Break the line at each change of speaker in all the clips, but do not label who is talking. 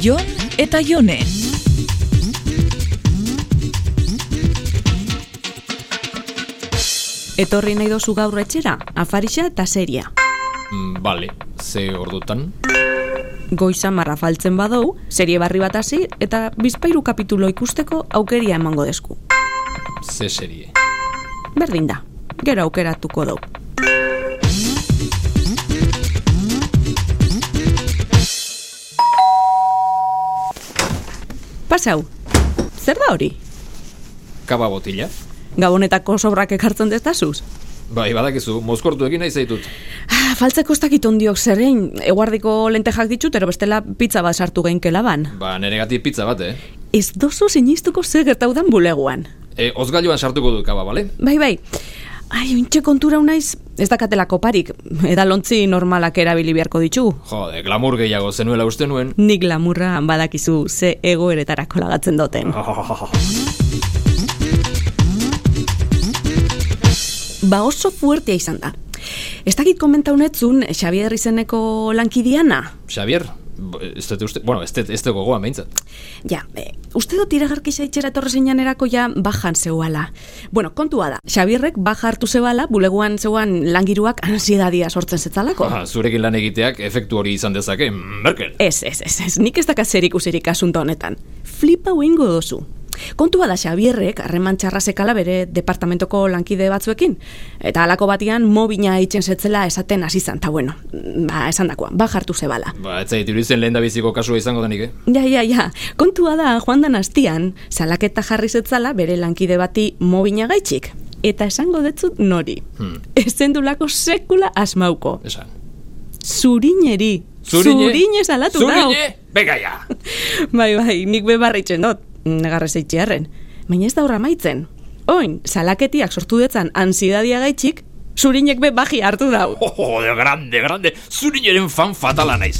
Jon eta Jone.
Etorri nahi dozu gaur etxera, afarixa eta seria.
Mm, Bale, ze ordutan?
Goiz amarra faltzen badou, serie barri bat hasi eta bizpairu kapitulo ikusteko aukeria emango desku.
Ze serie?
Berdin da, gero aukeratuko dou. Pasau, zer da hori?
Kaba botila?
Gabonetako sobrak ekartzen destazuz?
Bai, badakizu, mozkortuekin nahi zaitut.
Ah, Faltzeko ez dakit ondiok zerein, eguardiko lentejak ditut, ero bestela pizza bat sartu geinkela ban.
Ba, neregatik pizza bat, eh?
Ez dozu sinistuko zer gertaudan buleguan.
E, ozgailuan sartuko dut kaba, bale?
Bai, bai, ai, ointxe kontura naiz, ez dakatela koparik, edalontzi normalak erabili beharko ditu.
Jode, glamour gehiago zenuela uste nuen.
Nik lamurra badakizu ze egoeretarako lagatzen duten. Ba oso fuertea izan da. Ez dakit komenta honetzun Xavier izeneko lankidiana?
Xavier, b- ez dut uste, bueno, ez dut, ez dut gogoan behintzat.
Ja, e, uste dut iragarki zaitxera torre zeinan ja bajan zeuala. Bueno, kontua da, Xabierrek baja hartu zeuala, buleguan zeuan langiruak ansiedadia sortzen zetzalako.
Ah, zurekin lan egiteak efektu hori izan dezake, Merkel.
Ez, ez, ez, ez, nik ez dakat zer ikusirik asunto honetan. Flipa ingo dozu. Kontua da Xabierrek harreman txarra sekala bere departamentoko lankide batzuekin. Eta halako batian mobina itxen zetzela esaten hasi zan, ta bueno, ba, esan dakoa, baja hartu zebala.
Ba, ez zait, iruditzen lehen da biziko kasua izango denik, eh?
Ja, ja, ja. Kontua da, joan dan astian, salaketa jarri zetzala bere lankide bati mobina gaitxik. Eta esango detzut nori.
Hmm.
Ez zendulako sekula asmauko.
Esan.
Zurineri. Zurine salatu dau.
Zurine? Bega ja!
Bai, bai, nik bebarritzen dut, negarre zeitxearren. Baina ez da horra maitzen. Oin, salaketiak sortu detzan ansidadia gaitxik, zurinek be baji hartu dau.
Jode, Oh, grande, grande, zurineren fan fatala naiz.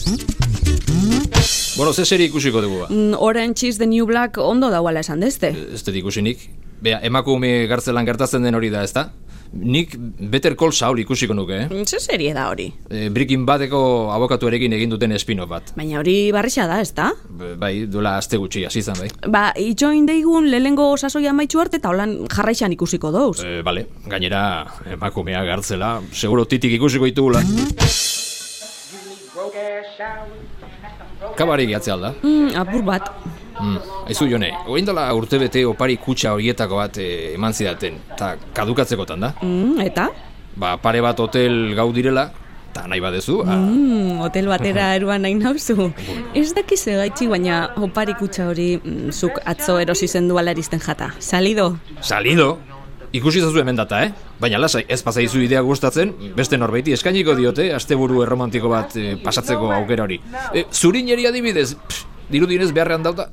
Bueno, ze serie ikusiko dugu ba?
Mm, Orange is the New Black ondo dauala esan dezte.
Ez dut ikusinik. Bea, emakume gartzelan gertatzen den hori da, ezta? Nik Better Call Saul ikusiko nuke, eh?
Mm, Ze serie da hori?
E, Breaking Badeko abokatuarekin egin duten spin-off bat.
Baina hori barrixa da, ez da?
B- Bai, duela aste gutxi hasi izan, bai.
Ba, itxoin deigun lehengo sasoia maitxu arte eta holan jarraixan ikusiko douz.
E, bale, gainera emakumea gartzela, seguro titik ikusiko ditugula. Kabari gehatzea alda.
Mm, apur bat.
Mm. Aizu jone, orain dela urtebete opari kutxa horietako bat eh, eman zidaten, eta kadukatzekotan da.
Mm, eta?
Ba, pare bat hotel gau direla, eta nahi badezu, ah, a-
Mm, hotel batera eruan nahi nauzu. Ez dakiz egaitxi, baina oparik utxa hori mm, zuk atzo erosi zenduala eristen jata. Salido.
Salido? Ikusi zazu hemen data, eh? Baina lasai, ez pasaizu idea gustatzen, beste norbaiti eskainiko diote, asteburu erromantiko bat eh, pasatzeko aukera hori. E, zurineri adibidez, pff, dirudienez beharrean dauta.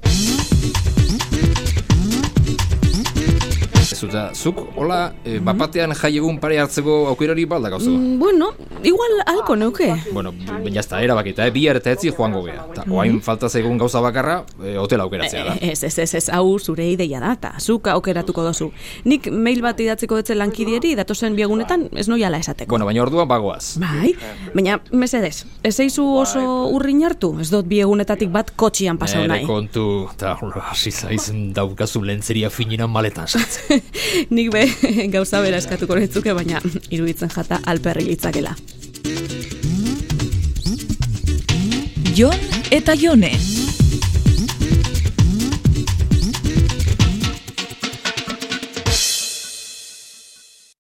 Ez zuta, zuk, hola, eh, bapatean jaiegun pare hartzeko aukera hori ba balda gauzu.
Mm, bueno, igual alko neuke.
Bueno, baina ez da, erabakita, eh? bihar eta etzi joango gea. Ta, oain falta zaigun gauza bakarra, eh, hotel aukeratzea da.
Ez, ez, ez, ez, hau zure ideia da, eta zuk aukeratuko dozu. Nik mail bat idatziko etze lankidieri, datozen biegunetan ez noiala esateko.
Bueno, baina orduan bagoaz.
Bai, baina mesedez, ez eizu oso urrin hartu, ez dut biegunetatik bat kotxian pasau
Nere
nahi.
kontu, eta hola, hasi zaizen daukazu lentzeria finina maletan sartzen.
Nik be gauza bera eskatuko netzuke, baina iruditzen jata alperri litzakela.
Jon eta Jone.